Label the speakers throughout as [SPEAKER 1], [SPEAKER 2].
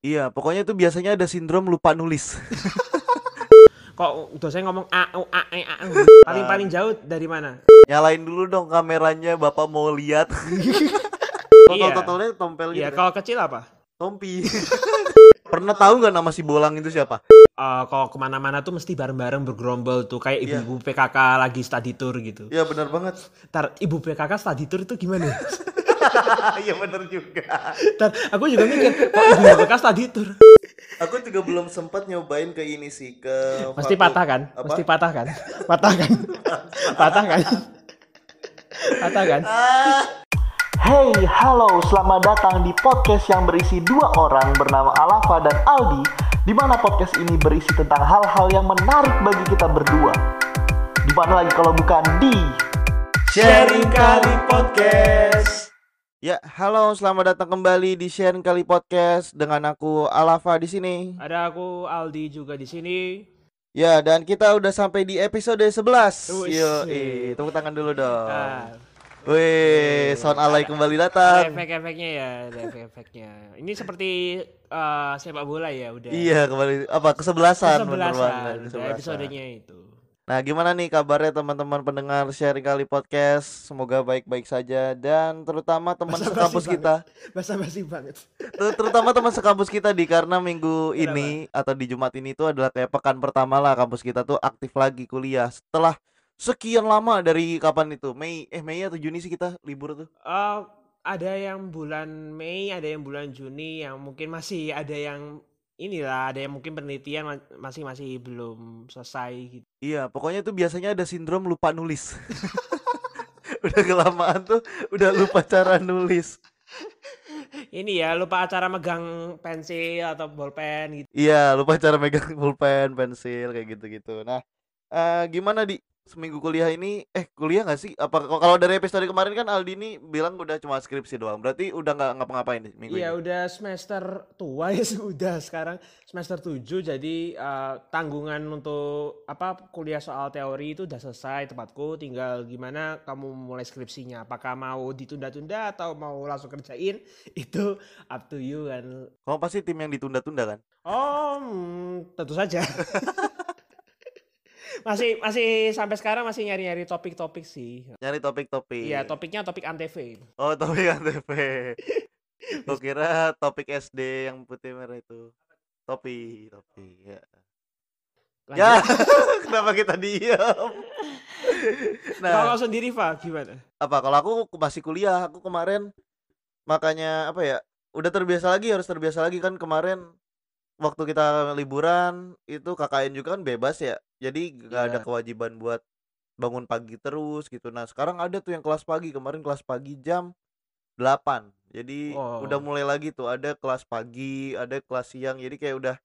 [SPEAKER 1] Iya, pokoknya tuh biasanya ada sindrom lupa nulis.
[SPEAKER 2] Kok udah saya ngomong a u a e a u.
[SPEAKER 1] Eh,
[SPEAKER 2] Paling paling jauh dari mana?
[SPEAKER 1] Nyalain dulu dong kameranya, Bapak mau lihat.
[SPEAKER 2] Iya.
[SPEAKER 1] Totol-totolnya tompel gitu.
[SPEAKER 2] Iya,
[SPEAKER 1] kan.
[SPEAKER 2] kalau kecil apa?
[SPEAKER 1] Tompi. Pernah tahu nggak nama si Bolang itu siapa?
[SPEAKER 2] Eh, kalau kemana-mana tuh mesti bareng-bareng bergerombol tuh kayak
[SPEAKER 1] Iya.
[SPEAKER 2] ibu-ibu PKK lagi study tour gitu.
[SPEAKER 1] Iya benar banget.
[SPEAKER 2] Ntar ibu PKK study tour itu gimana?
[SPEAKER 1] Iya benar juga.
[SPEAKER 2] Ntar aku juga mikir kok ibu PKK study tour
[SPEAKER 1] Aku juga belum sempat nyobain ke ini sih ke
[SPEAKER 2] pasti
[SPEAKER 1] faku-
[SPEAKER 2] patah kan?
[SPEAKER 1] Apa?
[SPEAKER 2] Pasti patah kan? Patah kan? patah kan? patah kan?
[SPEAKER 1] Ah.
[SPEAKER 3] Hey, halo, selamat datang di podcast yang berisi dua orang bernama Alafa dan Aldi di mana podcast ini berisi tentang hal-hal yang menarik bagi kita berdua. Di mana lagi kalau bukan di
[SPEAKER 1] Sharing Kali Podcast. Ya, halo, selamat datang kembali di Sharing Kali Podcast dengan aku Alafa di sini.
[SPEAKER 2] Ada aku Aldi juga di sini.
[SPEAKER 1] Ya, dan kita udah sampai di episode 11.
[SPEAKER 2] Wih.
[SPEAKER 1] Yo, tepuk tangan dulu dong.
[SPEAKER 2] Ah,
[SPEAKER 1] Wih, sound alay kembali
[SPEAKER 2] ada
[SPEAKER 1] datang.
[SPEAKER 2] efek-efeknya ya, ada efek-efeknya. Ini seperti eh, sepak bola ya udah.
[SPEAKER 1] Iya, kembali apa kesebelasan bener banget,
[SPEAKER 2] Kesebelasan, udah
[SPEAKER 1] kesebelasan.
[SPEAKER 2] episodenya itu.
[SPEAKER 1] Nah, gimana nih kabarnya teman-teman pendengar Sharing Kali Podcast? Semoga baik-baik saja dan terutama teman
[SPEAKER 2] Basa-basi
[SPEAKER 1] sekampus
[SPEAKER 2] banget.
[SPEAKER 1] kita.
[SPEAKER 2] Basa-basi banget.
[SPEAKER 1] Ter- terutama teman sekampus kita di karena minggu ini atau di Jumat ini itu adalah kayak pekan pertama lah kampus kita tuh aktif lagi kuliah setelah sekian lama dari kapan itu Mei eh Mei atau Juni sih kita libur tuh
[SPEAKER 2] Eh, ada yang bulan Mei, ada yang bulan Juni, yang mungkin masih ada yang inilah, ada yang mungkin penelitian ma- masih masih belum selesai gitu.
[SPEAKER 1] iya pokoknya tuh biasanya ada sindrom lupa nulis udah kelamaan tuh udah lupa cara nulis
[SPEAKER 2] Ini ya lupa acara megang pensil atau bolpen gitu.
[SPEAKER 1] iya lupa cara megang pulpen pensil kayak gitu gitu nah eh, gimana di seminggu kuliah ini eh kuliah nggak sih apa kalau dari episode kemarin kan Aldi ini bilang udah cuma skripsi doang berarti udah nggak ngapa-ngapain nih minggu ini
[SPEAKER 2] Iya udah semester tua ya sudah sekarang semester 7 jadi eh, tanggungan untuk apa kuliah soal teori itu udah selesai tempatku tinggal gimana kamu mulai skripsinya apakah mau ditunda-tunda atau mau langsung kerjain itu up to you kan
[SPEAKER 1] Kamu pasti tim yang ditunda-tunda kan?
[SPEAKER 2] Oh, mm, tentu saja. masih masih sampai sekarang masih nyari-nyari topik-topik sih.
[SPEAKER 1] Nyari topik-topik.
[SPEAKER 2] Iya, topiknya topik antv.
[SPEAKER 1] Oh, topik ATP. Gue kira topik SD yang putih merah itu. Topi, topi. Ya. Ya,
[SPEAKER 2] Lanjut.
[SPEAKER 1] kenapa kita diam? nah,
[SPEAKER 2] Kalau sendiri Pak gimana?
[SPEAKER 1] apa kalau aku masih kuliah, aku kemarin makanya apa ya? Udah terbiasa lagi, harus terbiasa lagi kan kemarin waktu kita liburan itu KKN juga kan bebas ya. Jadi gak ada
[SPEAKER 2] Iya.
[SPEAKER 1] kewajiban buat bangun pagi terus gitu. Nah, sekarang ada tuh yang kelas pagi. Kemarin kelas pagi jam 8. Jadi
[SPEAKER 2] Wow.
[SPEAKER 1] udah mulai lagi tuh ada kelas pagi, ada kelas siang. Jadi kayak udah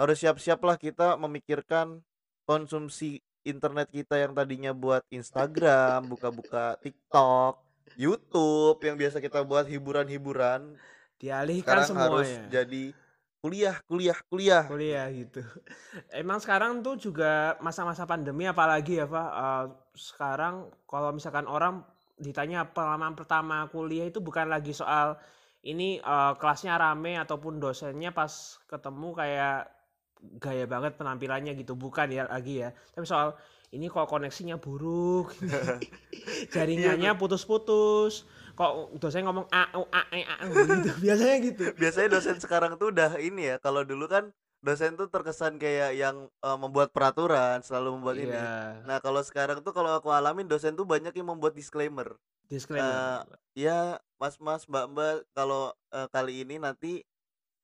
[SPEAKER 1] harus siap-siap lah kita memikirkan konsumsi internet kita yang tadinya buat Instagram, buka-buka TikTok, YouTube yang biasa kita buat hiburan-hiburan.
[SPEAKER 2] Dialihkan
[SPEAKER 1] Sekarang harus
[SPEAKER 2] kan semuanya.
[SPEAKER 1] jadi kuliah, kuliah, kuliah.
[SPEAKER 2] kuliah gitu. Emang sekarang tuh juga masa-masa pandemi apalagi ya Pak. eh, sekarang kalau misalkan orang ditanya pengalaman pertama kuliah itu bukan lagi soal ini eh, kelasnya rame ataupun dosennya pas ketemu kayak gaya banget penampilannya gitu bukan ya lagi ya tapi soal ini kok koneksinya buruk
[SPEAKER 1] Iya,
[SPEAKER 2] jaringannya putus-putus kok dosen ngomong a u a e a u gitu biasanya gitu
[SPEAKER 1] biasanya dosen sekarang tuh udah ini ya kalau dulu kan dosen tuh terkesan kayak yang eh, membuat peraturan selalu membuat ini
[SPEAKER 2] Iya,
[SPEAKER 1] nah kalau sekarang tuh kalau aku alamin dosen tuh banyak yang membuat disclaimer
[SPEAKER 2] disclaimer
[SPEAKER 1] ya mas mas mbak mbak kalau eh, kali ini nanti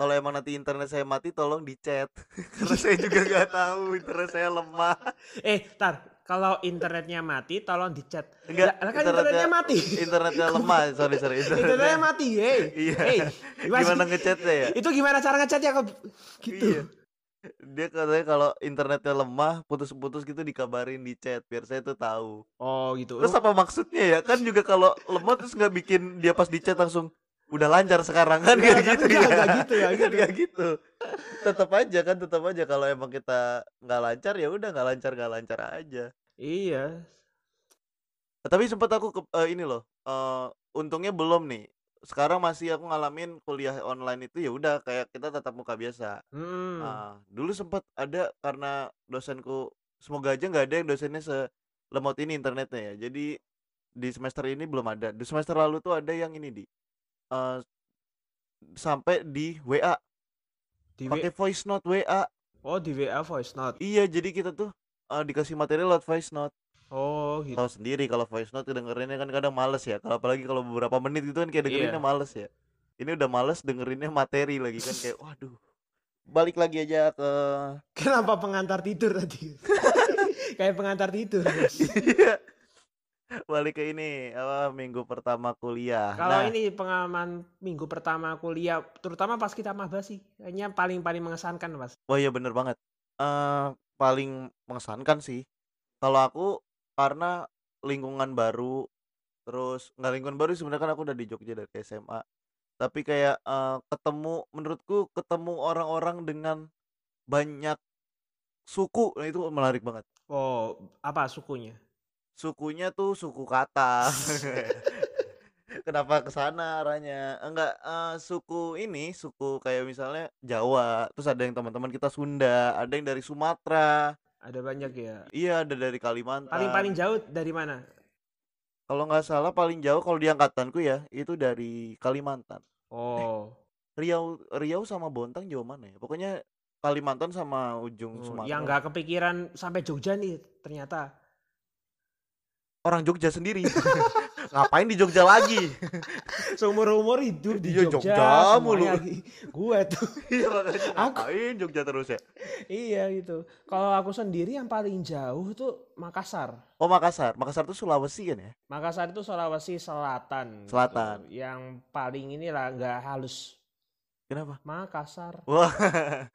[SPEAKER 1] kalau emang nanti internet saya mati tolong dicat karena saya juga nggak tahu internet saya lemah
[SPEAKER 2] Eh, tar, kalau internetnya mati tolong dicat.
[SPEAKER 1] Enggak,
[SPEAKER 2] Lah, kan
[SPEAKER 1] internetnya-
[SPEAKER 2] internetnya mati.
[SPEAKER 1] internetnya lemah sorry sorry
[SPEAKER 2] internetnya
[SPEAKER 1] internetnya
[SPEAKER 2] mati, gitu. hei.
[SPEAKER 1] Iya.
[SPEAKER 2] Hei,
[SPEAKER 1] gimana ngecatnya ya
[SPEAKER 2] Itu gimana cara ngecatnya kok gitu.
[SPEAKER 1] Iya. Dia katanya kalau internetnya lemah, putus-putus gitu dikabarin di chat biar saya tuh tahu.
[SPEAKER 2] Oh, gitu.
[SPEAKER 1] Terus apa maksudnya ya? Kan juga kalau lemah terus nggak bikin dia pas di chat langsung udah lancar sekarang kan
[SPEAKER 2] Enggak,
[SPEAKER 1] kayak
[SPEAKER 2] tapi
[SPEAKER 1] gitu ya.
[SPEAKER 2] enggak, enggak gitu, enggak
[SPEAKER 1] Kan
[SPEAKER 2] gitu.
[SPEAKER 1] nggak gitu. Tetap aja kan, tetap aja kalau emang kita nggak lancar ya udah nggak lancar nggak lancar aja.
[SPEAKER 2] Iya.
[SPEAKER 1] Tapi sempat aku ke- eh, ini loh. eh, untungnya belum nih. sekarang masih aku ngalamin kuliah online itu ya udah kayak kita tatap muka biasa
[SPEAKER 2] Hmm.
[SPEAKER 1] Ah, dulu sempat ada karena dosenku semoga aja nggak ada yang dosennya selemot ini internetnya ya. Jadi di semester ini belum ada. Di semester lalu tuh ada yang ini di eh, sampai di WA
[SPEAKER 2] di
[SPEAKER 1] pakai voice note WA.
[SPEAKER 2] W- oh di WA voice note.
[SPEAKER 1] Iya, jadi kita tuh eh, dikasih materi lewat voice note.
[SPEAKER 2] Oh gitu.
[SPEAKER 1] Tahu sendiri kalau voice note dengerinnya kan kadang males ya. Kalau apalagi kalau beberapa menit gitu kan
[SPEAKER 2] Iya.
[SPEAKER 1] kayak dengerinnya males ya. Ini udah males dengerinnya materi lagi kan kayak waduh. Balik lagi aja ke
[SPEAKER 2] Kenapa pengantar tidur tadi? Kayak pengantar tidur. Bos.
[SPEAKER 1] Iya. Balik ke ini apa minggu pertama kuliah.
[SPEAKER 2] Kalau
[SPEAKER 1] nah,
[SPEAKER 2] ini pengalaman minggu pertama kuliah, terutama pas kita maba sih, kayaknya paling paling mengesankan mas.
[SPEAKER 1] wah iya bener banget. Eh paling mengesankan sih. Kalau aku karena lingkungan baru terus nggak lingkungan baru sebenarnya kan aku udah di Jogja dari SMA. Tapi kayak eh, ketemu menurutku ketemu orang-orang dengan banyak suku nah itu menarik banget.
[SPEAKER 2] Oh apa sukunya?
[SPEAKER 1] sukunya tuh suku kata. Kenapa ke sana arahnya? Enggak eh, suku ini suku kayak misalnya Jawa, terus ada yang teman-teman kita Sunda, ada yang dari Sumatera,
[SPEAKER 2] Ada banyak ya.
[SPEAKER 1] iya ada dari Kalimantan.
[SPEAKER 2] Paling paling jauh dari mana?
[SPEAKER 1] Kalau nggak salah paling jauh kalau di angkatanku ya, itu dari Kalimantan.
[SPEAKER 2] Oh,
[SPEAKER 1] Riau Riau sama Bontang jauh mana ya? Pokoknya Kalimantan sama ujung
[SPEAKER 2] oh,
[SPEAKER 1] Sumatera.
[SPEAKER 2] yang nggak kepikiran sampai Jogja nih ternyata.
[SPEAKER 1] Orang Jogja sendiri. Ngapain di Jogja lagi?
[SPEAKER 2] Seumur umur hidup di
[SPEAKER 1] Iya,
[SPEAKER 2] Jogja,
[SPEAKER 1] Jogja
[SPEAKER 2] semuanya
[SPEAKER 1] mulu.
[SPEAKER 2] lagi- Gua tuh,
[SPEAKER 1] Iya makanya
[SPEAKER 2] Aku-
[SPEAKER 1] ngapain Jogja terus ya?
[SPEAKER 2] iya gitu. Kalau aku sendiri yang paling jauh tuh Makassar.
[SPEAKER 1] Oh Makassar, Makassar tuh Sulawesi kan ya?
[SPEAKER 2] Makassar itu Sulawesi Selatan. gitu.
[SPEAKER 1] Selatan.
[SPEAKER 2] Yang paling inilah nggak halus.
[SPEAKER 1] Kenapa?
[SPEAKER 2] Makassar.
[SPEAKER 1] Wah,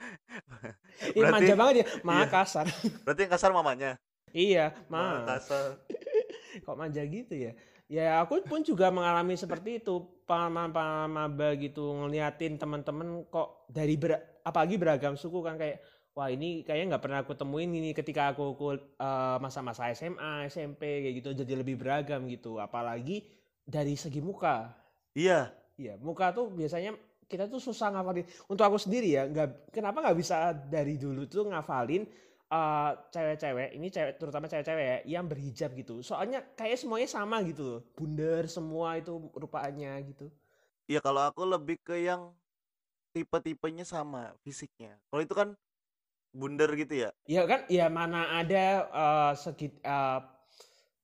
[SPEAKER 2] Ih, manja
[SPEAKER 1] Berarti- Iya.
[SPEAKER 2] banget ya. Makassar.
[SPEAKER 1] berarti yang kasar mamanya.
[SPEAKER 2] iya,
[SPEAKER 1] Wah,
[SPEAKER 2] Mas.
[SPEAKER 1] Kasar.
[SPEAKER 2] Kok manja gitu ya? Ya aku pun juga mengalami seperti itu. Pengalaman-pengalaman maba gitu ngeliatin teman-teman kok dari ber- apalagi beragam suku kan kayak wah ini kayaknya nggak pernah aku temuin ini ketika aku kul- eh, masa-masa SMA, SMP kayak gitu jadi lebih beragam gitu. Apalagi dari segi muka.
[SPEAKER 1] Iya,
[SPEAKER 2] Iya, muka tuh biasanya kita tuh susah ngafalin. Untuk aku sendiri ya, nggak kenapa nggak bisa dari dulu tuh ngafalin eh, cewek-cewek, ini cewek terutama cewek-cewek ya, yang berhijab gitu. Soalnya kayak semuanya sama gitu loh. Bundar semua itu rupaannya gitu.
[SPEAKER 1] iya kalau aku lebih ke yang tipe-tipenya sama fisiknya. Kalau itu kan bundar gitu ya.
[SPEAKER 2] Ya kan, ya mana ada eh, segit eh,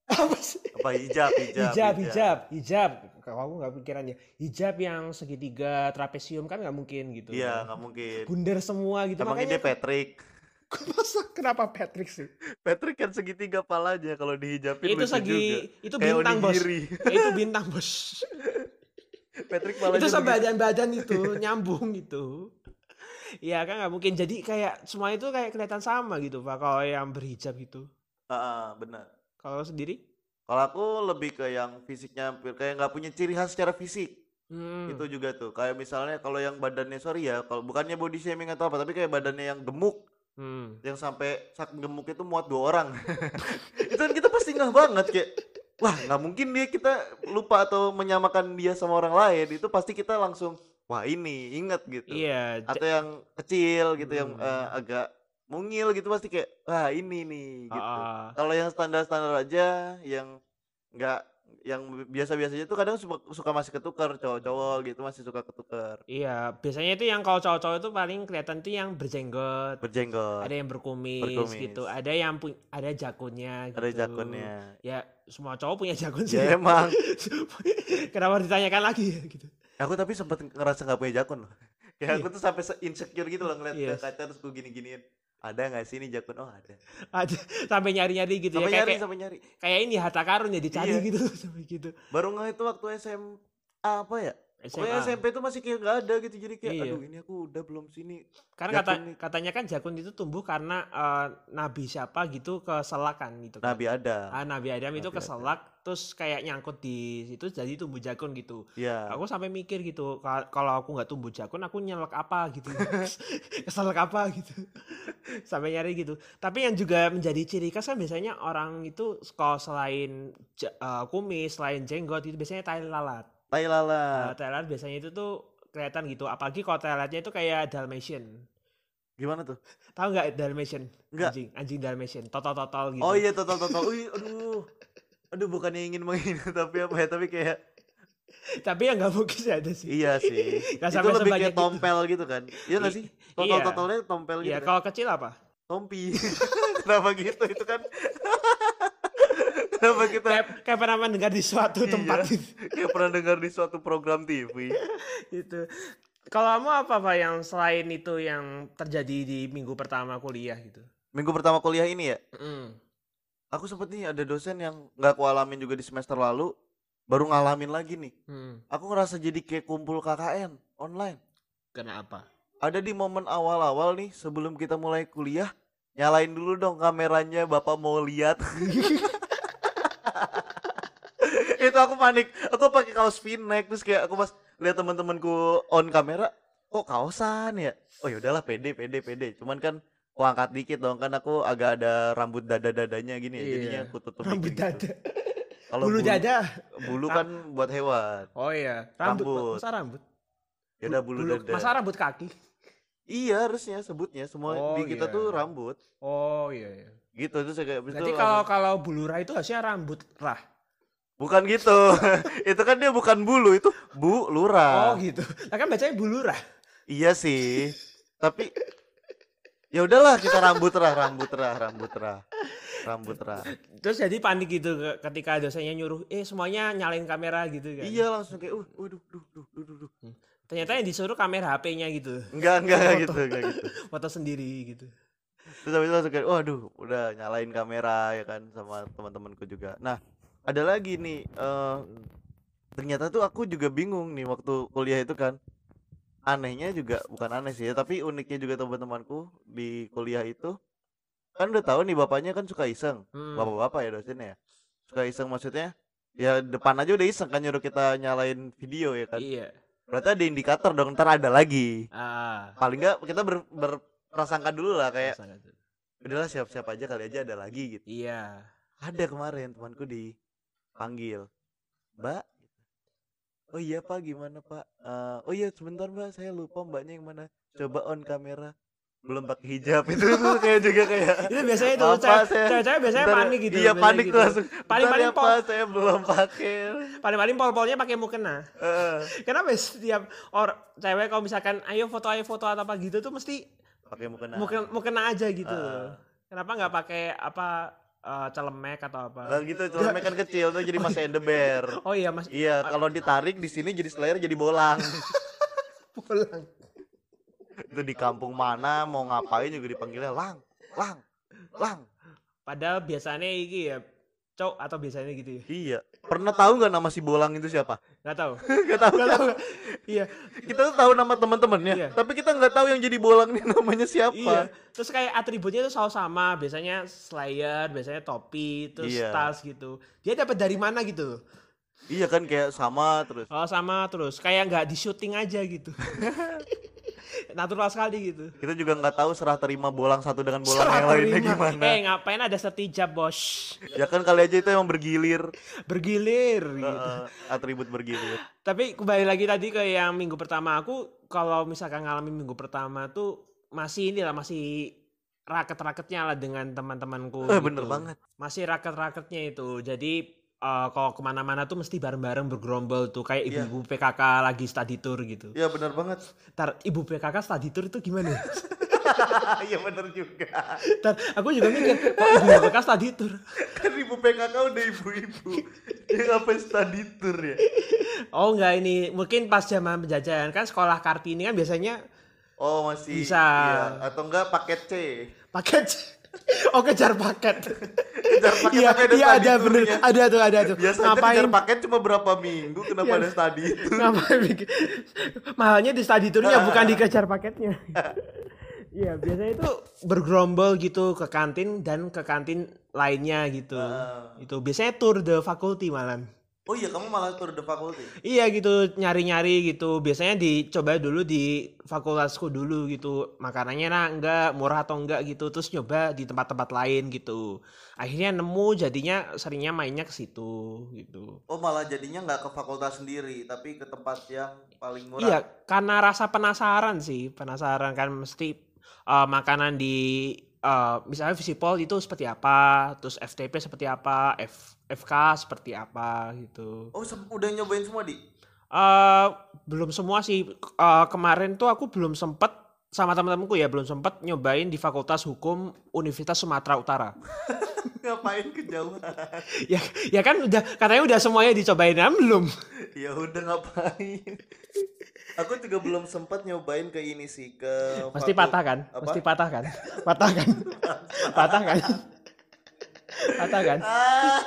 [SPEAKER 2] apa sih?
[SPEAKER 1] Apa hijab, hijab,
[SPEAKER 2] Hijab, hijab, hijab. Kalau aku nggak pikirannya, hijab yang segitiga trapesium kan nggak mungkin gitu.
[SPEAKER 1] Iya, nggak mungkin.
[SPEAKER 2] Bundar semua gitu.
[SPEAKER 1] Emang dia
[SPEAKER 2] Makanya
[SPEAKER 1] Patrick.
[SPEAKER 2] Masa kenapa Patrick sih?
[SPEAKER 1] Patrick kan segitiga palanya kalau dihijabin
[SPEAKER 2] Ya,
[SPEAKER 1] lucu
[SPEAKER 2] itu
[SPEAKER 1] juga.
[SPEAKER 2] segi itu
[SPEAKER 1] Kayak
[SPEAKER 2] bintang bos Ya,
[SPEAKER 1] onigiri.
[SPEAKER 2] itu bintang bos
[SPEAKER 1] Patrick palanya
[SPEAKER 2] itu sama
[SPEAKER 1] begitu.
[SPEAKER 2] badan-badan itu nyambung gitu ya kan nggak mungkin jadi kayak semua itu kayak kelihatan sama gitu pak kalau yang berhijab gitu
[SPEAKER 1] Ah, ah, benar.
[SPEAKER 2] kalau sendiri
[SPEAKER 1] Kalau aku lebih ke yang fisiknya hampir kayak nggak punya ciri khas secara fisik.
[SPEAKER 2] Hmm.
[SPEAKER 1] itu juga tuh kayak misalnya kalau yang badannya sorry ya kalau bukannya body shaming atau apa tapi kayak badannya yang gemuk
[SPEAKER 2] Hmm.
[SPEAKER 1] yang sampai sak gemuk itu muat dua orang itu kan kita pasti ngeh banget kayak wah nggak mungkin dia kita lupa atau menyamakan dia sama orang lain itu pasti kita langsung wah ini ingat gitu
[SPEAKER 2] iya ja-
[SPEAKER 1] atau yang kecil gitu yang
[SPEAKER 2] Hmm.
[SPEAKER 1] eh, agak mungil gitu pasti kayak wah ini nih gitu
[SPEAKER 2] ah,
[SPEAKER 1] kalau yang standar-standar aja yang nggak yang biasa-biasanya tuh kadang suka, suka masih ketukar cowok-cowok gitu masih suka ketukar
[SPEAKER 2] iya biasanya itu yang kalau cowok-cowok itu paling kelihatan tuh yang berjenggot
[SPEAKER 1] berjenggot
[SPEAKER 2] ada yang berkumis,
[SPEAKER 1] Berkumis.
[SPEAKER 2] gitu ada yang pu- ada jakunnya gitu.
[SPEAKER 1] ada jakunnya
[SPEAKER 2] ya semua cowok punya jakun sih
[SPEAKER 1] ya emang
[SPEAKER 2] kenapa ditanyakan lagi ya, gitu
[SPEAKER 1] aku tapi sempat ngerasa nggak punya jakun loh
[SPEAKER 2] Iya.
[SPEAKER 1] kayak aku tuh sampai se- insecure gitu loh ngeliat ke
[SPEAKER 2] Iya.
[SPEAKER 1] kaca terus gue gini-giniin ada nggak sih ini jakun oh ada
[SPEAKER 2] ada sampai nyari-nyari gitu
[SPEAKER 1] sampai
[SPEAKER 2] ya Iya, kayak,
[SPEAKER 1] nyari
[SPEAKER 2] kayak,
[SPEAKER 1] sampai nyari
[SPEAKER 2] kayak ini harta karun ya dicari
[SPEAKER 1] Iya.
[SPEAKER 2] gitu sampai gitu
[SPEAKER 1] baru nggak itu waktu SMA apa ya Pokoknya
[SPEAKER 2] SMA.
[SPEAKER 1] SMP tuh masih kayak nggak ada gitu jadi kayak
[SPEAKER 2] Iya.
[SPEAKER 1] aduh ini aku udah belum sini
[SPEAKER 2] karena kata
[SPEAKER 1] jakun nih.
[SPEAKER 2] katanya kan jakun itu tumbuh karena eh, nabi siapa gitu keselakan gitu kan.
[SPEAKER 1] Nabi ada
[SPEAKER 2] Ah, nabi
[SPEAKER 1] Nah.
[SPEAKER 2] Adam itu
[SPEAKER 1] Nabi Adam.
[SPEAKER 2] keselak terus kayak nyangkut di situ jadi tumbuh jakun gitu
[SPEAKER 1] ya
[SPEAKER 2] aku sampai mikir gitu "Ka- kalau aku nggak tumbuh jakun aku nyelak apa gitu keselak apa gitu sampai nyari gitu tapi yang juga menjadi ciri khas kan gitu, biasanya orang itu kalau selain ja- eh, kumis selain jenggot itu biasanya tai lalat
[SPEAKER 1] Tai
[SPEAKER 2] Nah,
[SPEAKER 1] lalat.
[SPEAKER 2] tai lalat biasanya itu tuh kelihatan gitu. Apalagi kalau tai lalatnya itu kayak Dalmatian.
[SPEAKER 1] Gimana tuh?
[SPEAKER 2] Tahu nggak Dalmatian?
[SPEAKER 1] Nggak.
[SPEAKER 2] Anjing, anjing Dalmatian. Totol-totol gitu.
[SPEAKER 1] Oh iya total total. Ui, aduh. Aduh bukannya ingin menghina tapi apa ya? Tapi kayak
[SPEAKER 2] Tapi yang nggak mungkin sih ada sih.
[SPEAKER 1] iya sih. itu
[SPEAKER 2] Nggak sampai
[SPEAKER 1] lebih
[SPEAKER 2] sebanyak
[SPEAKER 1] kayak
[SPEAKER 2] itu.
[SPEAKER 1] tompel gitu kan. Iya nggak
[SPEAKER 2] I-
[SPEAKER 1] sih?
[SPEAKER 2] iya.
[SPEAKER 1] Total totalnya tompel gitu.
[SPEAKER 2] Iya,
[SPEAKER 1] kan?
[SPEAKER 2] kalau kecil apa?
[SPEAKER 1] Tompi. Kenapa gitu? Itu kan Kenapa kita
[SPEAKER 2] Kayak, kayak pernah mendengar di suatu
[SPEAKER 1] Iya.
[SPEAKER 2] tempat gitu.
[SPEAKER 1] kayak pernah dengar di suatu program TV?
[SPEAKER 2] Gitu. Kalau kamu apa Pak yang selain itu yang terjadi di minggu pertama kuliah gitu?
[SPEAKER 1] Minggu pertama kuliah ini ya,
[SPEAKER 2] Mm.
[SPEAKER 1] aku sempet nih ada dosen yang nggak aku alamin juga di semester lalu, baru ngalamin lagi nih.
[SPEAKER 2] Hmm.
[SPEAKER 1] Aku ngerasa jadi kayak kumpul KKN online.
[SPEAKER 2] Kena apa?
[SPEAKER 1] Ada di momen awal-awal nih sebelum kita mulai kuliah, nyalain dulu dong kameranya, bapak mau lihat. itu aku panik, aku pakai kaos v-neck terus kayak aku pas lihat teman-temanku on kamera, kok kaosan ya? Oh ya udahlah pede pede pede. Cuman kan aku angkat dikit dong kan aku agak ada rambut dada-dadanya gini ya.
[SPEAKER 2] Iya.
[SPEAKER 1] Jadinya aku tutup gitu.
[SPEAKER 2] Rambut dada.
[SPEAKER 1] Kalau
[SPEAKER 2] Bulu dada.
[SPEAKER 1] Bulu kan buat hewan.
[SPEAKER 2] Oh iya, rambut.
[SPEAKER 1] Rambut.
[SPEAKER 2] Masa rambut?
[SPEAKER 1] Ya udah bulu, dada.
[SPEAKER 2] Masa rambut kaki?
[SPEAKER 1] Iya harusnya sebutnya semua
[SPEAKER 2] Oh,
[SPEAKER 1] di kita
[SPEAKER 2] iya.
[SPEAKER 1] tuh rambut
[SPEAKER 2] Oh iya. iya.
[SPEAKER 1] gitu terus kayak abis itu
[SPEAKER 2] Berarti kalau kalau bulurah itu harusnya rambut rah.
[SPEAKER 1] bukan gitu itu kan dia bukan bulu itu bu lurah
[SPEAKER 2] Oh gitu. Lah kan bacanya bulurah.
[SPEAKER 1] iya sih tapi ya udahlah kita rambut rah rambut rah rambut rah rambut rah
[SPEAKER 2] Terus jadi panik gitu ke- ketika dosennya nyuruh, eh semuanya nyalain kamera gitu kan.
[SPEAKER 1] iya langsung kayak uh waduh duh duh duh duh duh
[SPEAKER 2] Ternyata yang disuruh kamera HP-nya gitu.
[SPEAKER 1] enggak enggak enggak gitu enggak gitu
[SPEAKER 2] Foto sendiri gitu.
[SPEAKER 1] terus habis itu langsung kayak waduh udah nyalain kamera ya kan sama teman-temanku juga nah ada lagi nih eh ternyata tuh aku juga bingung nih waktu kuliah itu kan anehnya juga bukan aneh sih ya tapi uniknya juga teman-temanku di kuliah itu kan udah tahu nih bapaknya kan suka iseng
[SPEAKER 2] Hmm.
[SPEAKER 1] bapak-bapak ya dosennya ya suka iseng maksudnya ya depan aja udah iseng kan nyuruh kita nyalain video ya kan
[SPEAKER 2] Iya.
[SPEAKER 1] berarti ada indikator dong ntar ada lagi
[SPEAKER 2] Ah.
[SPEAKER 1] paling nggak kita ber, berprasangka dulu lah kayak
[SPEAKER 2] masa gitu.
[SPEAKER 1] udahlah siap-siap aja kali aja ada lagi gitu
[SPEAKER 2] Iya.
[SPEAKER 1] ada kemarin temanku dipanggil mbak oh iya pak gimana pak Eh, oh iya sebentar mbak saya lupa mbaknya yang mana coba on kamera belum pakai hijab itu tuh kayak juga kayak
[SPEAKER 2] Itu biasanya itu
[SPEAKER 1] Apa
[SPEAKER 2] cewek-
[SPEAKER 1] saya-
[SPEAKER 2] cewek-cewek biasanya
[SPEAKER 1] "Bentar ya."
[SPEAKER 2] panik gitu.
[SPEAKER 1] iya
[SPEAKER 2] biasanya
[SPEAKER 1] panik
[SPEAKER 2] gitu.
[SPEAKER 1] tuh langsung
[SPEAKER 2] Paling-
[SPEAKER 1] paling paling
[SPEAKER 2] paling
[SPEAKER 1] ya,
[SPEAKER 2] pol-
[SPEAKER 1] Pak, saya belum pakai
[SPEAKER 2] Paling-paling pol-polnya pakai mukena.
[SPEAKER 1] Eh,
[SPEAKER 2] Kenapa setiap or cewek kalau misalkan ayo foto ayo foto atau apa gitu tuh mesti
[SPEAKER 1] pakai mukena
[SPEAKER 2] mukena, mukena aja gitu.
[SPEAKER 1] Ah.
[SPEAKER 2] Kenapa nggak pakai apa eh, celemek atau apa?
[SPEAKER 1] Nah, gitu celana kan kecil tuh jadi masih endeber
[SPEAKER 2] Oh iya mas
[SPEAKER 1] iya kalau ditarik di sini jadi selayar jadi bolang
[SPEAKER 2] pulang.
[SPEAKER 1] itu di kampung mana mau ngapain juga dipanggilnya lang lang lang
[SPEAKER 2] Padahal biasanya iki ya cok atau biasanya gitu ya.
[SPEAKER 1] iya pernah tahu nggak nama si bolang itu siapa
[SPEAKER 2] Nggak tahu.
[SPEAKER 1] nggak tahu
[SPEAKER 2] Nggak
[SPEAKER 1] kan?
[SPEAKER 2] tahu. Iya.
[SPEAKER 1] kita tuh tahu nama teman-temannya
[SPEAKER 2] Iya.
[SPEAKER 1] tapi kita nggak tahu yang jadi bolang ini namanya
[SPEAKER 2] Iya.
[SPEAKER 1] siapa
[SPEAKER 2] Terus kayak atributnya itu selalu sama, biasanya slayer, biasanya topi, terus
[SPEAKER 1] Iya.
[SPEAKER 2] tas gitu. Dia dapat dari mana gitu?
[SPEAKER 1] iya kan kayak sama terus
[SPEAKER 2] Kalau sama terus kayak nggak di syuting aja gitu. Natural sekali gitu.
[SPEAKER 1] kita juga nggak tahu serah terima bolang satu dengan bolang
[SPEAKER 2] Serah
[SPEAKER 1] yang lainnya
[SPEAKER 2] terima.
[SPEAKER 1] gimana
[SPEAKER 2] Eh ngapain ada setijab bos?
[SPEAKER 1] ya kan kali aja itu emang bergilir
[SPEAKER 2] Bergilir gitu.
[SPEAKER 1] Heeh, atribut bergilir
[SPEAKER 2] Tapi kembali lagi tadi ke yang minggu pertama aku kalau misalkan ngalamin minggu pertama tuh masih inilah masih raket-raketnya lah dengan teman-temanku.
[SPEAKER 1] eh
[SPEAKER 2] gitu.
[SPEAKER 1] bener banget
[SPEAKER 2] Masih raket-raketnya itu. Jadi eh, kalau kemana-mana tuh mesti bareng-bareng bergerombol tuh kayak
[SPEAKER 1] Iya.
[SPEAKER 2] ibu-ibu PKK lagi study tour gitu.
[SPEAKER 1] iya bener banget
[SPEAKER 2] Ntar ibu PKK study tour itu gimana?
[SPEAKER 1] iya bener juga
[SPEAKER 2] Ntar aku juga mikir kok ibu PKK study tour.
[SPEAKER 1] kan ibu PKK udah ibu-ibu dia ngapain study tour ya
[SPEAKER 2] Oh enggak ini mungkin pas zaman penjajahan kan sekolah kartini kan biasanya
[SPEAKER 1] Oh masih
[SPEAKER 2] Bisa.
[SPEAKER 1] iya. atau enggak paket C
[SPEAKER 2] paket oh kejar paket
[SPEAKER 1] Kejar paket
[SPEAKER 2] iya
[SPEAKER 1] tapi ada
[SPEAKER 2] iya, ada
[SPEAKER 1] study
[SPEAKER 2] bener
[SPEAKER 1] tournya.
[SPEAKER 2] ada tuh ada tuh
[SPEAKER 1] biasanya
[SPEAKER 2] ngapain Iya.
[SPEAKER 1] kejar paket cuma berapa minggu kenapa ada study itu
[SPEAKER 2] ngapain bikin- mahalnya di study tournya
[SPEAKER 1] Nah.
[SPEAKER 2] bukan dikejar paketnya iya biasanya itu bergerombol gitu ke kantin dan ke kantin lainnya gitu
[SPEAKER 1] Ah.
[SPEAKER 2] itu biasanya tour the faculty malam
[SPEAKER 1] Oh iya, kamu malah tour the faculty.
[SPEAKER 2] Iya gitu nyari-nyari gitu. Biasanya dicoba dulu di fakultasku dulu gitu. Makanannya enak enggak, murah atau enggak gitu. Terus nyoba di tempat-tempat lain gitu. Akhirnya nemu jadinya seringnya mainnya ke situ gitu.
[SPEAKER 1] Oh malah jadinya nggak ke fakultas sendiri, tapi ke tempat yang paling murah.
[SPEAKER 2] Iya, karena rasa penasaran sih. Penasaran kan mesti eh, makanan di eh, misalnya Visipol itu seperti apa, terus FTP seperti apa, F- FK seperti apa gitu.
[SPEAKER 1] Oh sem- udah nyobain semua di?
[SPEAKER 2] eh belum semua sih Eh, kemarin tuh aku belum sempet sama teman-temanku ya belum sempet nyobain di Fakultas Hukum Universitas Sumatera Utara.
[SPEAKER 1] Ngapain kejauhan?
[SPEAKER 2] ya, ya kan udah katanya udah semuanya dicobain kan belum.
[SPEAKER 1] ya udah ngapain? Aku juga belum sempat nyobain ke ini sih ke.
[SPEAKER 2] Pasti
[SPEAKER 1] fakul-
[SPEAKER 2] patah kan?
[SPEAKER 1] apa?
[SPEAKER 2] Pasti patah kan? Patah kan? patah kan? patah kan?
[SPEAKER 1] Ah,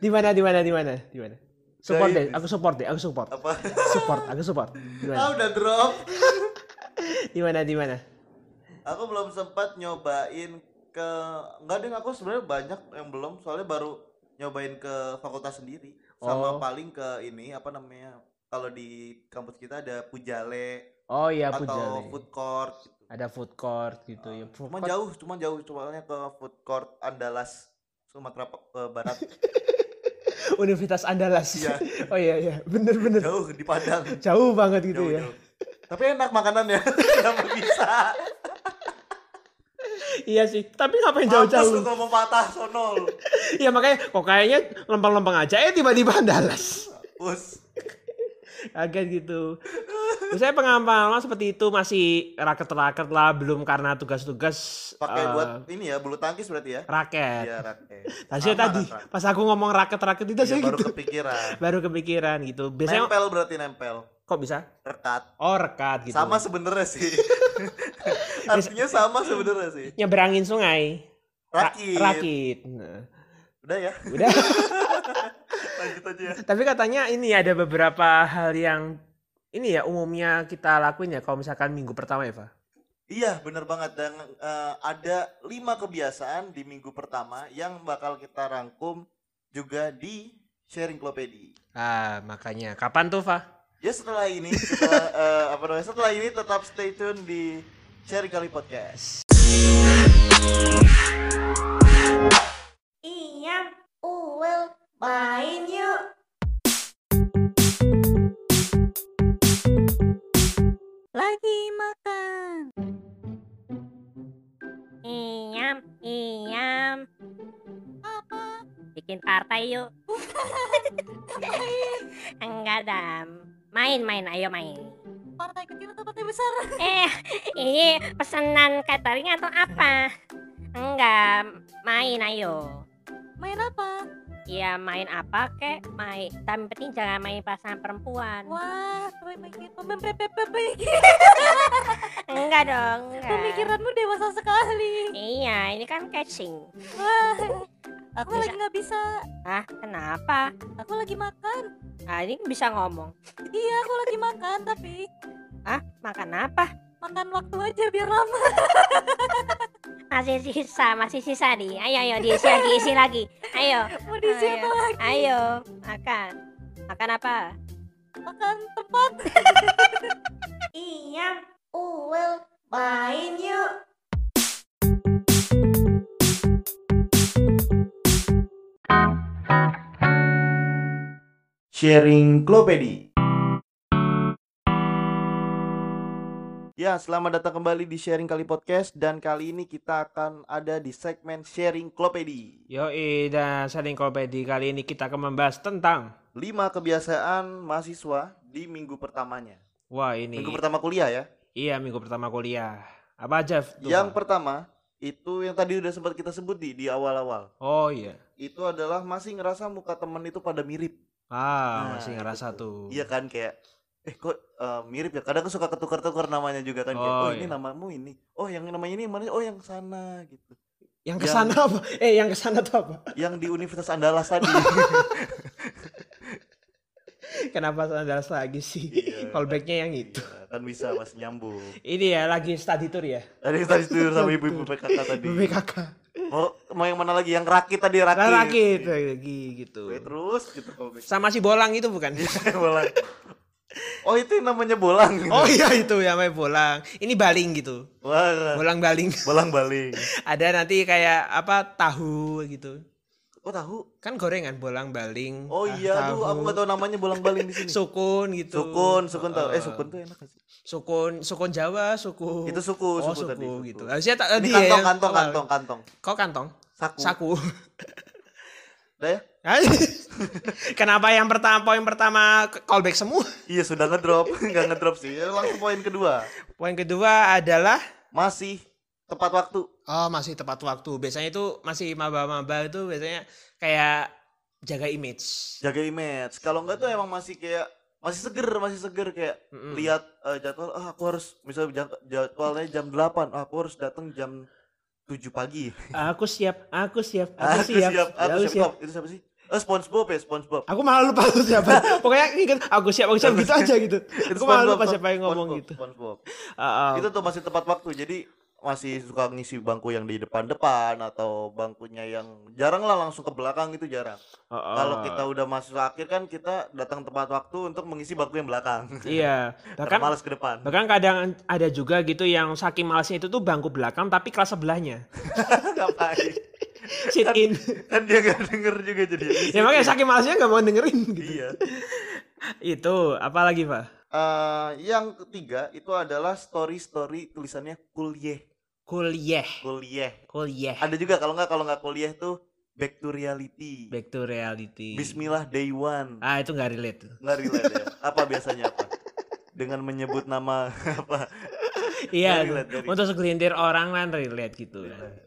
[SPEAKER 2] Di mana di mana di mana? Di mana? Support
[SPEAKER 1] Saya
[SPEAKER 2] deh,
[SPEAKER 1] ini.
[SPEAKER 2] aku support deh, aku support.
[SPEAKER 1] apa?
[SPEAKER 2] Support, aku support. Di
[SPEAKER 1] Ah
[SPEAKER 2] mana?
[SPEAKER 1] udah drop.
[SPEAKER 2] Di mana di mana?
[SPEAKER 1] Aku belum sempat nyobain ke. Nggak deh, aku sebenarnya banyak yang belum. Soalnya baru nyobain ke fakultas sendiri. Sama
[SPEAKER 2] Oh.
[SPEAKER 1] paling ke ini apa namanya? Kalau di kampus kita ada pujale,
[SPEAKER 2] Oh iya
[SPEAKER 1] atau
[SPEAKER 2] Pujali.
[SPEAKER 1] food court. Gitu.
[SPEAKER 2] Ada food court gitu ya. Food
[SPEAKER 1] Cuman
[SPEAKER 2] court-
[SPEAKER 1] jauh, cuman jauh, cumannya ke food court Andalas Sumatera Pe- ke barat.
[SPEAKER 2] Universitas Andalas.
[SPEAKER 1] Iya.
[SPEAKER 2] Oh iya iya, bener bener. Jauh,
[SPEAKER 1] jauh di Padang.
[SPEAKER 2] banget gitu
[SPEAKER 1] Jauh,
[SPEAKER 2] ya.
[SPEAKER 1] jauh. Tapi enak makanannya. Kenapa bisa?
[SPEAKER 2] Iya sih, tapi ngapain
[SPEAKER 1] Mampus lu
[SPEAKER 2] jauh-jauh?
[SPEAKER 1] kalau mau patah sono lu.
[SPEAKER 2] Iya makanya kok kayaknya lempeng-lempeng aja eh tiba-tiba Andalas.
[SPEAKER 1] Bus.
[SPEAKER 2] Agak gitu. Terus saya pengalaman seperti itu masih raket-raket lah, belum karena tugas-tugas
[SPEAKER 1] Pakai
[SPEAKER 2] eh,
[SPEAKER 1] buat ini ya bulu tangkis berarti ya.
[SPEAKER 2] raket.
[SPEAKER 1] Iya, raket.
[SPEAKER 2] eh. Tasya
[SPEAKER 1] Sama,
[SPEAKER 2] tadi
[SPEAKER 1] raket.
[SPEAKER 2] pas aku ngomong raket-raket itu
[SPEAKER 1] Iya,
[SPEAKER 2] saya
[SPEAKER 1] baru
[SPEAKER 2] gitu.
[SPEAKER 1] kepikiran.
[SPEAKER 2] Baru kepikiran gitu. Biasanya
[SPEAKER 1] Nempel berarti nempel.
[SPEAKER 2] kok bisa?
[SPEAKER 1] Rekat.
[SPEAKER 2] Oh, rekat gitu.
[SPEAKER 1] Sama sebenernya sih. Artinya sama sebenernya sih.
[SPEAKER 2] nyeberangin sungai. Ra-
[SPEAKER 1] Rakit.
[SPEAKER 2] Rakit. Nah,
[SPEAKER 1] Udah ya,
[SPEAKER 2] Udah.
[SPEAKER 1] lanjut aja ya.
[SPEAKER 2] Tapi katanya ini ada beberapa hal yang ini ya umumnya kita lakuin ya kalau misalkan minggu pertama ya, Eva.
[SPEAKER 1] Iya, bener banget. Dan eh, ada lima kebiasaan di minggu pertama yang bakal kita rangkum juga di sharing klopedi.
[SPEAKER 2] Ah, makanya kapan tuh, Fa?
[SPEAKER 1] Ya setelah ini kita eh, apa namanya? Setelah ini tetap stay tune di sharing kali podcast.
[SPEAKER 4] Iya, Uwil, main yuk. Lagi makan. Iyam, iyam. Apa? Bikin partai yuk. Enggak, Dam. Main-main, ayo main. Partai kecil atau partai besar? Eh, ini pesanan catering atau apa? Enggak, main ayo.
[SPEAKER 5] Main apa?
[SPEAKER 4] Ya main apa kek? Main, tapi yang penting jangan main pasangan perempuan.
[SPEAKER 5] Wah, pemikiran, pemikiran, pemikiran,
[SPEAKER 4] Enggak dong, enggak.
[SPEAKER 5] pemikiranmu dewasa sekali.
[SPEAKER 4] Iya, ini kan catching.
[SPEAKER 5] Wah, aku
[SPEAKER 4] Bisa.
[SPEAKER 5] lagi nggak bisa.
[SPEAKER 4] Hah, kenapa?
[SPEAKER 5] Aku lagi makan.
[SPEAKER 4] Ah, ini bisa ngomong.
[SPEAKER 5] Iya, aku lagi makan tapi
[SPEAKER 4] Makan apa?
[SPEAKER 5] makan waktu aja biar lama.
[SPEAKER 4] Masih sisa, masih sisa nih. Ayo, ayo, diisi lagi, isi lagi. Ayo,
[SPEAKER 5] Mau diisi
[SPEAKER 4] Ayo.
[SPEAKER 5] apa lagi?
[SPEAKER 4] ayo, makan. Makan apa?
[SPEAKER 5] Makan tempat.
[SPEAKER 4] Iya, Uwil, main yuk.
[SPEAKER 1] Sharing klopedi. Ya, selamat datang kembali di Sharing Kali Podcast dan kali ini kita akan ada di segmen Sharing Klopedi.
[SPEAKER 2] Yoi, dan sharing Kopedi kali ini kita akan membahas tentang
[SPEAKER 1] Lima kebiasaan mahasiswa di minggu pertamanya.
[SPEAKER 2] wah ini
[SPEAKER 1] Minggu pertama kuliah ya.
[SPEAKER 2] iya minggu pertama kuliah. Apa aja? tuh,
[SPEAKER 1] Yang
[SPEAKER 2] Fa?
[SPEAKER 1] pertama itu yang tadi udah sempat kita sebut di di awal-awal.
[SPEAKER 2] Oh iya.
[SPEAKER 1] Itu adalah masih ngerasa muka temen itu pada mirip.
[SPEAKER 2] Ah,
[SPEAKER 1] Nah,
[SPEAKER 2] masih
[SPEAKER 1] itu
[SPEAKER 2] ngerasa tuh.
[SPEAKER 1] Iya kan kayak eh kok eh, mirip ya. Kadang suka ketukar-tukar namanya juga kan kayak
[SPEAKER 2] Oh,
[SPEAKER 1] oh ini
[SPEAKER 2] iya.
[SPEAKER 1] namamu ini. Oh yang namanya ini yang mana? Oh yang sana gitu.
[SPEAKER 2] Yang kesana apa? Eh, yang kesana tuh apa?
[SPEAKER 1] Yang di Universitas Andalas tadi.
[SPEAKER 2] Kenapa Andalas lagi sih?
[SPEAKER 1] Iya.
[SPEAKER 2] Callbacknya yang itu.
[SPEAKER 1] Iya, kan bisa masih nyambung.
[SPEAKER 2] Ini ya lagi study tour ya.
[SPEAKER 1] Tadi tadi tidur sama ibu-ibu PKK tadi.
[SPEAKER 2] BPKK.
[SPEAKER 1] Mau, mau yang mana lagi? Yang rakit tadi rakit.
[SPEAKER 2] Lah, rakit lagi gitu.
[SPEAKER 1] Oke, terus gitu kalau bisa.
[SPEAKER 2] Sama si bolang itu bukan?
[SPEAKER 1] bolang. Oh itu yang namanya bolang. gitu.
[SPEAKER 2] oh iya itu ya namanya bolang. Ini baling gitu.
[SPEAKER 1] Wah,
[SPEAKER 2] Bolang baling.
[SPEAKER 1] bolang baling.
[SPEAKER 2] Ada nanti kayak apa tahu gitu.
[SPEAKER 1] Oh tahu?
[SPEAKER 2] Kan gorengan bolang baling.
[SPEAKER 1] Oh
[SPEAKER 2] ah,
[SPEAKER 1] iya, aduh aku nggak tahu namanya bolang baling di sini.
[SPEAKER 2] Sukun gitu.
[SPEAKER 1] Sukun, sukun tahu. Eh
[SPEAKER 2] Heeh.
[SPEAKER 1] sukun tuh enak gak sih?
[SPEAKER 2] Sukun, sukun Jawa, suku.
[SPEAKER 1] Itu suku,
[SPEAKER 2] oh,
[SPEAKER 1] suku
[SPEAKER 2] suku,
[SPEAKER 1] tadi, suku.
[SPEAKER 2] gitu. Harusnya ta-
[SPEAKER 1] Ini
[SPEAKER 2] tadi ya.
[SPEAKER 1] Eh, kantong,
[SPEAKER 2] yang
[SPEAKER 1] kantong,
[SPEAKER 2] awal.
[SPEAKER 1] kantong, kantong.
[SPEAKER 2] Kok kantong?
[SPEAKER 1] Saku.
[SPEAKER 2] Saku.
[SPEAKER 1] Udah ya?
[SPEAKER 2] Hah? Kenapa yang pertama poin pertama callback semua?
[SPEAKER 1] Iya sudah ngedrop, nggak ngedrop sih. Ya, Langsung poin kedua.
[SPEAKER 2] Poin kedua adalah
[SPEAKER 1] Masih tepat waktu.
[SPEAKER 2] Oh masih tepat waktu. Biasanya itu masih maba-maba itu biasanya kayak jaga image.
[SPEAKER 1] Jaga image. Kalau nggak tuh emang masih kayak masih seger, masih seger kayak
[SPEAKER 2] Mm-mm.
[SPEAKER 1] lihat eh, jadwal ah aku harus misalnya jang- jadwalnya jam 8 ah, aku harus datang jam 7 pagi
[SPEAKER 2] Aku siap, aku siap,
[SPEAKER 1] aku
[SPEAKER 2] aku,
[SPEAKER 1] siap,
[SPEAKER 2] siap,
[SPEAKER 1] aku siap, Tom. itu siapa sih Eh, SpongeBob ya SpongeBob
[SPEAKER 2] Aku malah lupa aku siapa. Pokoknya inget aku siap, aku siap gitu aja gitu.
[SPEAKER 1] Itu
[SPEAKER 2] Aku malah
[SPEAKER 1] SpongeBob,
[SPEAKER 2] lupa siapa yang
[SPEAKER 1] Tom.
[SPEAKER 2] ngomong
[SPEAKER 1] SpongeBob,
[SPEAKER 2] gitu.
[SPEAKER 1] SpongeBob.
[SPEAKER 2] Ah, ah.
[SPEAKER 1] itu tuh masih tepat waktu jadi masih suka ngisi bangku yang di depan-depan atau bangkunya yang jarang lah langsung ke belakang itu jarang
[SPEAKER 2] Ah, ah.
[SPEAKER 1] kalau kita udah masuk akhir kan kita datang tepat waktu untuk mengisi bangku yang belakang
[SPEAKER 2] Iya, bahkan
[SPEAKER 1] Karena malas ke depan
[SPEAKER 2] bahkan kadang ada juga gitu yang saking malasnya itu tuh bangku belakang tapi kelas sebelahnya. kan-
[SPEAKER 1] ngapain
[SPEAKER 2] Sit in.
[SPEAKER 1] kan dia nggak denger juga jadi
[SPEAKER 2] ya makanya saking malasnya nggak mau dengerin gitu.
[SPEAKER 1] iya
[SPEAKER 2] Itu apalagi, Pak?
[SPEAKER 1] Eh, yang ketiga itu adalah story-story tulisannya kuliah
[SPEAKER 2] Kuliah.
[SPEAKER 1] kuliah
[SPEAKER 2] Kuliah.
[SPEAKER 1] ada juga kalau nggak kalau nggak kuliah tuh back to reality
[SPEAKER 2] Back to reality.
[SPEAKER 1] Bismillah day one
[SPEAKER 2] Ah itu nggak relate. tuh.
[SPEAKER 1] nggak relate ya apa biasanya apa dengan menyebut nama apa
[SPEAKER 2] Iya.
[SPEAKER 1] Nggak relate, nggak relate.
[SPEAKER 2] Untuk segelintir orang kan relate gitu.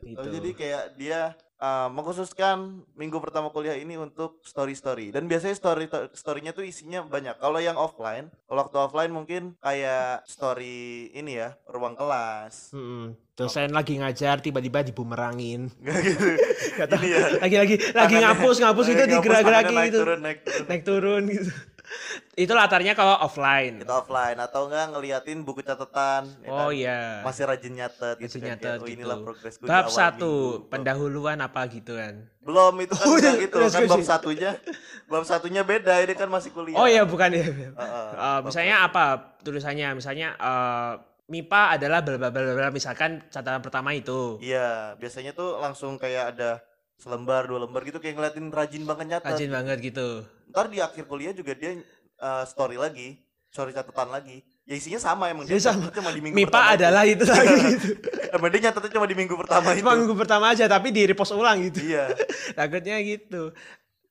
[SPEAKER 2] Gitu.
[SPEAKER 1] Oh, jadi kayak dia eh, mengkhususkan minggu pertama kuliah ini untuk story story dan biasanya story to- storynya tuh isinya banyak kalau yang offline kalau waktu offline mungkin kayak story ini ya ruang kelas
[SPEAKER 2] Mm-mm. Dosen lagi ngajar tiba-tiba dibumerangin.
[SPEAKER 1] nggak gitu ini ya
[SPEAKER 2] Lagi-lagi lagi
[SPEAKER 1] Tangannya-
[SPEAKER 2] ngapus ngapus
[SPEAKER 1] tangannya
[SPEAKER 2] gitu
[SPEAKER 1] ngapus,
[SPEAKER 2] digerak-gerakin
[SPEAKER 1] tangannya naik
[SPEAKER 2] gitu.
[SPEAKER 1] turun, naik turun.
[SPEAKER 2] Naik turun gitu. itu latarnya kalau offline.
[SPEAKER 1] Kita offline atau enggak ngeliatin buku catatan ya
[SPEAKER 2] Oh
[SPEAKER 1] kan?
[SPEAKER 2] iya.
[SPEAKER 1] masih rajin nyatet
[SPEAKER 2] Masih
[SPEAKER 1] kan,
[SPEAKER 2] nyatet
[SPEAKER 1] kayak, oh, inilah
[SPEAKER 2] gitu.
[SPEAKER 1] progres gue di
[SPEAKER 2] Bab
[SPEAKER 1] awal
[SPEAKER 2] satu
[SPEAKER 1] minggu.
[SPEAKER 2] pendahuluan apa gitu kan.
[SPEAKER 1] belum itu kan
[SPEAKER 2] Oh,
[SPEAKER 1] udah
[SPEAKER 2] iya,
[SPEAKER 1] gitu
[SPEAKER 2] udah
[SPEAKER 1] kan bab
[SPEAKER 2] skripsi.
[SPEAKER 1] satunya bab satunya beda ini kan masih kuliah
[SPEAKER 2] Oh iya bukan ya.
[SPEAKER 1] Heeh,
[SPEAKER 2] Eh,
[SPEAKER 1] bab
[SPEAKER 2] misalnya apa tulisannya? Misalnya eh, MIPA adalah bla bla bla bla misalkan catatan pertama itu.
[SPEAKER 1] Iya, biasanya tuh langsung kayak ada selembar dua lembar gitu kayak ngeliatin rajin banget nyatet.
[SPEAKER 2] Rajin banget gitu.
[SPEAKER 1] Ntar di akhir kuliah juga dia eh, story lagi, story catatan lagi. Ya isinya sama emang
[SPEAKER 2] Dia Iya, sama.
[SPEAKER 1] nyatetnya cuma di minggu
[SPEAKER 2] MIPA
[SPEAKER 1] pertama itu.
[SPEAKER 2] adalah itu lagi gitu.
[SPEAKER 1] Emang dia nyatetnya cuma di minggu pertama itu.
[SPEAKER 2] Cuma minggu pertama aja tapi di repost ulang gitu.
[SPEAKER 1] Iya.
[SPEAKER 2] Takutnya gitu.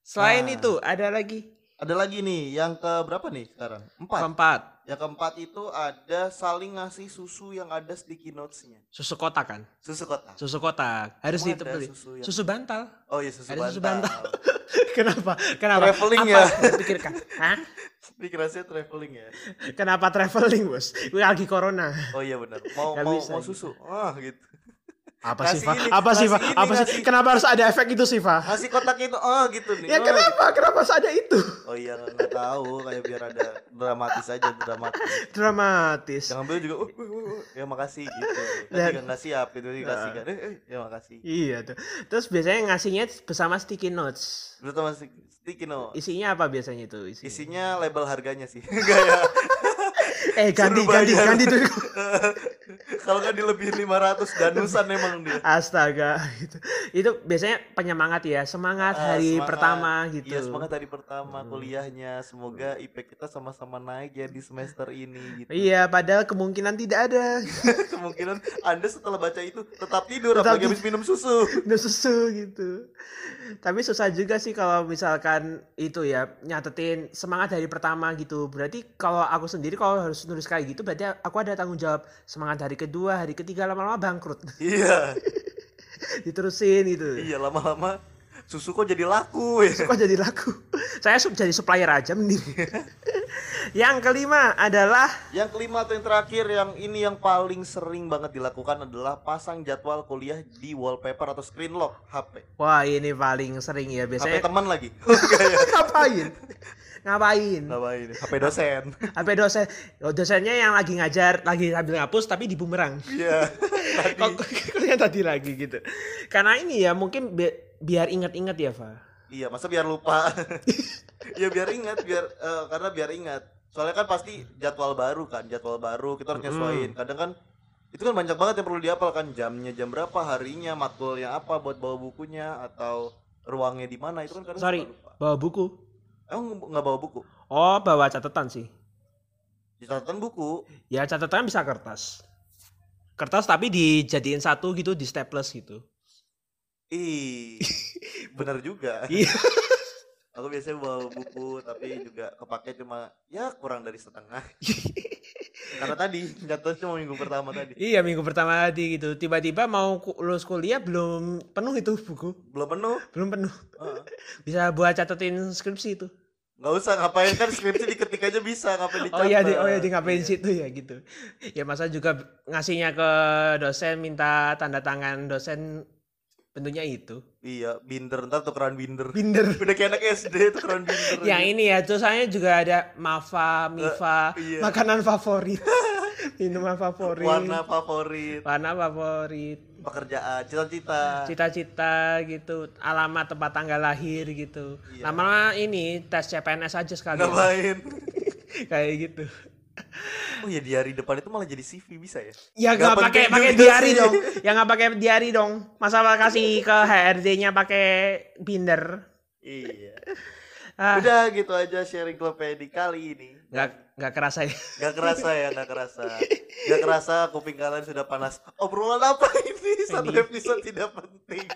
[SPEAKER 2] Selain
[SPEAKER 1] Nah.
[SPEAKER 2] itu ada lagi
[SPEAKER 1] Ada lagi nih yang ke berapa nih sekarang? Empat.
[SPEAKER 2] keempat
[SPEAKER 1] Yang keempat itu ada saling ngasih susu yang ada sticky notes-nya.
[SPEAKER 2] susu kotak kan?
[SPEAKER 1] Susu kotak.
[SPEAKER 2] Susu kotak harus
[SPEAKER 1] Emang ada
[SPEAKER 2] ditebeli.
[SPEAKER 1] susu yang-
[SPEAKER 2] Susu bantal.
[SPEAKER 1] Oh iya susu
[SPEAKER 2] Ada
[SPEAKER 1] bantal.
[SPEAKER 2] susu bantal. Kenapa? Kenapa?
[SPEAKER 1] Traveling
[SPEAKER 2] Apa
[SPEAKER 1] ya.
[SPEAKER 2] yang dipikirkan? Hah?
[SPEAKER 1] Dikirasnya traveling ya.
[SPEAKER 2] Kenapa traveling, Bos? Gue lagi corona.
[SPEAKER 1] Oh iya benar. Mau
[SPEAKER 2] Nggak
[SPEAKER 1] mau,
[SPEAKER 2] bisa
[SPEAKER 1] mau
[SPEAKER 2] gitu.
[SPEAKER 1] susu. Ah gitu.
[SPEAKER 2] Apa
[SPEAKER 1] Kasih
[SPEAKER 2] sih, Pak?
[SPEAKER 1] ini,
[SPEAKER 2] Apa sih,
[SPEAKER 1] kasih
[SPEAKER 2] Pak?
[SPEAKER 1] ini,
[SPEAKER 2] Apa sih?
[SPEAKER 1] kasih.
[SPEAKER 2] Kenapa harus ada efek itu sih, Pak?
[SPEAKER 1] Ngasih kotak itu. Oh gitu nih.
[SPEAKER 2] Ya
[SPEAKER 1] Oh,
[SPEAKER 2] kenapa? Kenapa harus ada itu?
[SPEAKER 1] Oh iya nggak nggak tahu kayak biar ada dramatis aja dramatis.
[SPEAKER 2] Dramatis.
[SPEAKER 1] Yang ambil juga uh, uh, uh, uh, ya makasih gitu. Tadi
[SPEAKER 2] Dan- Nah.
[SPEAKER 1] nggak- nggak siap itu dikasih kan. Eh, eh, ya makasih.
[SPEAKER 2] Iya tuh. Terus biasanya ngasihnya bersama sticky notes.
[SPEAKER 1] Terus sama stik- sticky no.
[SPEAKER 2] Isinya apa biasanya itu? Isinya?
[SPEAKER 1] Isinya label harganya sih. Enggak ya.
[SPEAKER 2] Eh ganti
[SPEAKER 1] Suruh
[SPEAKER 2] ganti
[SPEAKER 1] bayar.
[SPEAKER 2] ganti dulu.
[SPEAKER 1] Kalau nggak dilebihin 500 danusan emang dia.
[SPEAKER 2] Astaga gitu. Itu biasanya penyemangat ya, semangat
[SPEAKER 1] Ah,
[SPEAKER 2] hari
[SPEAKER 1] semangat.
[SPEAKER 2] pertama gitu. Hmm.
[SPEAKER 1] Iya semangat hari pertama kuliahnya Semoga IP kita sama-sama naik ya di semester ini gitu.
[SPEAKER 2] Iya, padahal kemungkinan tidak ada
[SPEAKER 1] Kemungkinan Anda setelah baca itu tetap tidur
[SPEAKER 2] Tetap
[SPEAKER 1] apalagi habis minum susu
[SPEAKER 2] minum susu gitu. Tapi susah juga sih kalau misalkan itu ya nyatetin semangat hari pertama gitu. Berarti kalau aku sendiri kalau harus nulis kayak gitu berarti aku ada tanggung jawab semangat hari kedua, hari ketiga lama-lama bangkrut.
[SPEAKER 1] Iya
[SPEAKER 2] Diterusin gitu.
[SPEAKER 1] Iya lama-lama susu kok jadi laku ya.
[SPEAKER 2] Kok jadi laku? Saya sub- jadi supplier aja mending. Yang kelima adalah
[SPEAKER 1] Yang kelima atau yang terakhir yang ini yang paling sering banget dilakukan adalah pasang jadwal kuliah di wallpaper atau screen lock HP.
[SPEAKER 2] Wah ini paling sering ya
[SPEAKER 1] HP
[SPEAKER 2] biasanya
[SPEAKER 1] teman lagi.
[SPEAKER 2] ngapain? ngapain?
[SPEAKER 1] iya. ngapain HP dosen
[SPEAKER 2] HP dosen, oh, dosennya yang lagi ngajar, lagi sambil ngapus tapi di bumerang.
[SPEAKER 1] iya
[SPEAKER 2] Kok kok yang tadi lagi gitu. Karena ini ya mungkin bi- biar ingat-ingat ya, Pak.
[SPEAKER 1] iya masa biar lupa ya biar ingat biar eh, karena biar ingat soalnya kan pasti jadwal baru kan jadwal baru kita harus nyesuaiin kadang kan itu kan banyak banget yang perlu diapal kan jamnya jam berapa harinya matkulnya apa buat bawa bukunya atau ruangnya di mana itu kan kadang
[SPEAKER 2] Sorry.
[SPEAKER 1] suka lupa.
[SPEAKER 2] Bawa buku.
[SPEAKER 1] emang nggak bawa buku
[SPEAKER 2] Oh, bawa catatan sih.
[SPEAKER 1] di catatan buku
[SPEAKER 2] Ya catatan bisa kertas. Kertas tapi dijadiin satu gitu di staples gitu.
[SPEAKER 1] ih bener juga
[SPEAKER 2] Iya.
[SPEAKER 1] aku biasanya bawa buku tapi juga kepake cuma ya kurang dari setengah karena tadi catatan cuma minggu pertama tadi
[SPEAKER 2] Iya minggu pertama tadi gitu tiba-tiba mau ku- lulus kuliah belum penuh itu buku
[SPEAKER 1] belum penuh
[SPEAKER 2] belum penuh
[SPEAKER 1] Heeh.
[SPEAKER 2] bisa buat catetin skripsi itu
[SPEAKER 1] nggak usah ngapain kan skripsi diketik aja bisa ngapain dicatat
[SPEAKER 2] oh iya di, oh iya di ngapain
[SPEAKER 1] Iya.
[SPEAKER 2] situ ya gitu ya masa juga ngasihnya ke dosen minta tanda tangan dosen bentuknya itu
[SPEAKER 1] iya binder ntar tukeran binder
[SPEAKER 2] binder
[SPEAKER 1] udah kayak anak SD tukeran binder
[SPEAKER 2] yang ini ya terus saya juga ada mafa mifa
[SPEAKER 1] iya.
[SPEAKER 2] makanan favorit minuman favorit
[SPEAKER 1] warna favorit
[SPEAKER 2] warna favorit
[SPEAKER 1] pekerjaan cita-cita
[SPEAKER 2] cita-cita gitu alamat tempat tanggal lahir gitu
[SPEAKER 1] Iya.
[SPEAKER 2] lama-lama ini tes CPNS aja sekalian
[SPEAKER 1] ngapain
[SPEAKER 2] kayak gitu
[SPEAKER 1] oh ya di hari depan itu malah jadi CV bisa ya
[SPEAKER 2] ya
[SPEAKER 1] Nggak
[SPEAKER 2] nggak pakai
[SPEAKER 1] penting
[SPEAKER 2] pakai
[SPEAKER 1] juga
[SPEAKER 2] diary
[SPEAKER 1] sih.
[SPEAKER 2] dong ya nggak pakai diary dong masa malah kasih ke HRD-nya pakai binder
[SPEAKER 1] iya
[SPEAKER 2] ah
[SPEAKER 1] udah gitu aja sharing klopedi kali ini
[SPEAKER 2] nggak nggak kerasa ya
[SPEAKER 1] Gak kerasa ya, gak kerasa. Gak kerasa kuping kalian sudah panas. Obrolan apa ini? Satu
[SPEAKER 2] Ini.
[SPEAKER 1] episode tidak penting.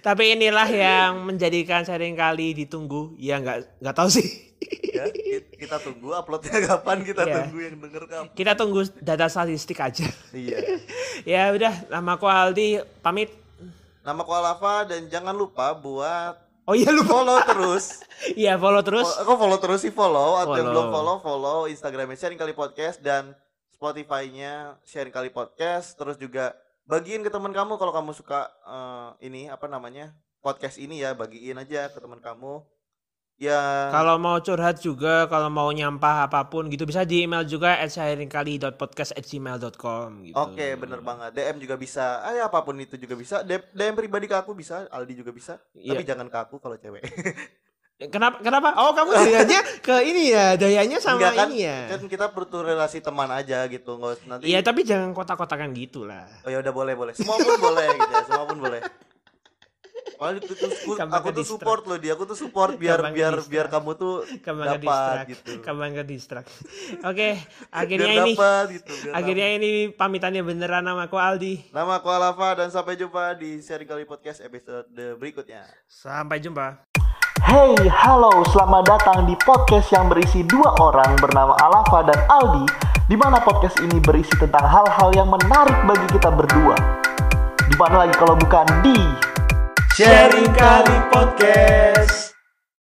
[SPEAKER 2] tapi inilah yang menjadikan sering kali ditunggu ya nggak nggak tahu sih
[SPEAKER 1] Ya, ki- kita tunggu uploadnya kapan, kita
[SPEAKER 2] Iya.
[SPEAKER 1] tunggu yang denger kapan.
[SPEAKER 2] kita tunggu data statistik aja
[SPEAKER 1] Iya.
[SPEAKER 2] ya udah nama aku Aldi pamit
[SPEAKER 1] Nama aku Alava dan jangan lupa buat
[SPEAKER 2] oh iya lupa
[SPEAKER 1] follow terus.
[SPEAKER 2] iya follow terus
[SPEAKER 1] Fo- Kok follow terus sih follow atau yang
[SPEAKER 2] Follow.
[SPEAKER 1] belum follow follow Instagramnya Sharing Kali Podcast dan Spotify-nya Sharing Kali Podcast terus juga bagiin ke teman kamu kalau kamu suka eh, ini apa namanya podcast ini ya bagiin aja ke teman kamu ya
[SPEAKER 2] Kalau mau curhat juga, kalau mau nyampah apapun gitu bisa di email juga at sharingkali.podcast@gmail.com gitu.
[SPEAKER 1] Oke, bener banget. DM juga bisa. Ah, ya, apapun itu juga bisa. DM, DM pribadi ke aku bisa, Aldi juga bisa.
[SPEAKER 2] Iya.
[SPEAKER 1] Tapi jangan ke aku kalau cewek.
[SPEAKER 2] Kenapa kenapa? Oh, kamu dayanya ke ini ya, dayanya sama
[SPEAKER 1] Enggak kan,
[SPEAKER 2] ini ya.
[SPEAKER 1] Kan kita butuh relasi teman aja gitu, nggak usah nanti.
[SPEAKER 2] Iya, tapi jangan kotak-kotakan gitu lah.
[SPEAKER 1] Oh ya udah boleh boleh. Semua pun boleh gitu ya, semua pun boleh. Soalnya itu tuh aku-
[SPEAKER 2] Gampang
[SPEAKER 1] aku tuh
[SPEAKER 2] ke-distract.
[SPEAKER 1] support loh dia, aku tuh support biar
[SPEAKER 2] Gampang
[SPEAKER 1] biar
[SPEAKER 2] ke-distract.
[SPEAKER 1] biar kamu tuh
[SPEAKER 2] Kamu ke
[SPEAKER 1] Dapat,
[SPEAKER 2] distract,
[SPEAKER 1] gitu.
[SPEAKER 2] kamu ke distract. Oke, akhirnya
[SPEAKER 1] biar
[SPEAKER 2] ini
[SPEAKER 1] dapat gitu. biar
[SPEAKER 2] akhirnya
[SPEAKER 1] dapat.
[SPEAKER 2] ini pamitannya beneran sama aku Aldi.
[SPEAKER 1] Nama aku Alava dan sampai jumpa di seri kali podcast episode berikutnya.
[SPEAKER 2] Sampai jumpa.
[SPEAKER 3] Hey, halo, selamat datang di podcast yang berisi dua orang bernama Alafa dan Aldi, di mana podcast ini berisi tentang hal-hal yang menarik bagi kita berdua. Di mana lagi kalau bukan di
[SPEAKER 1] Sharing kali podcast.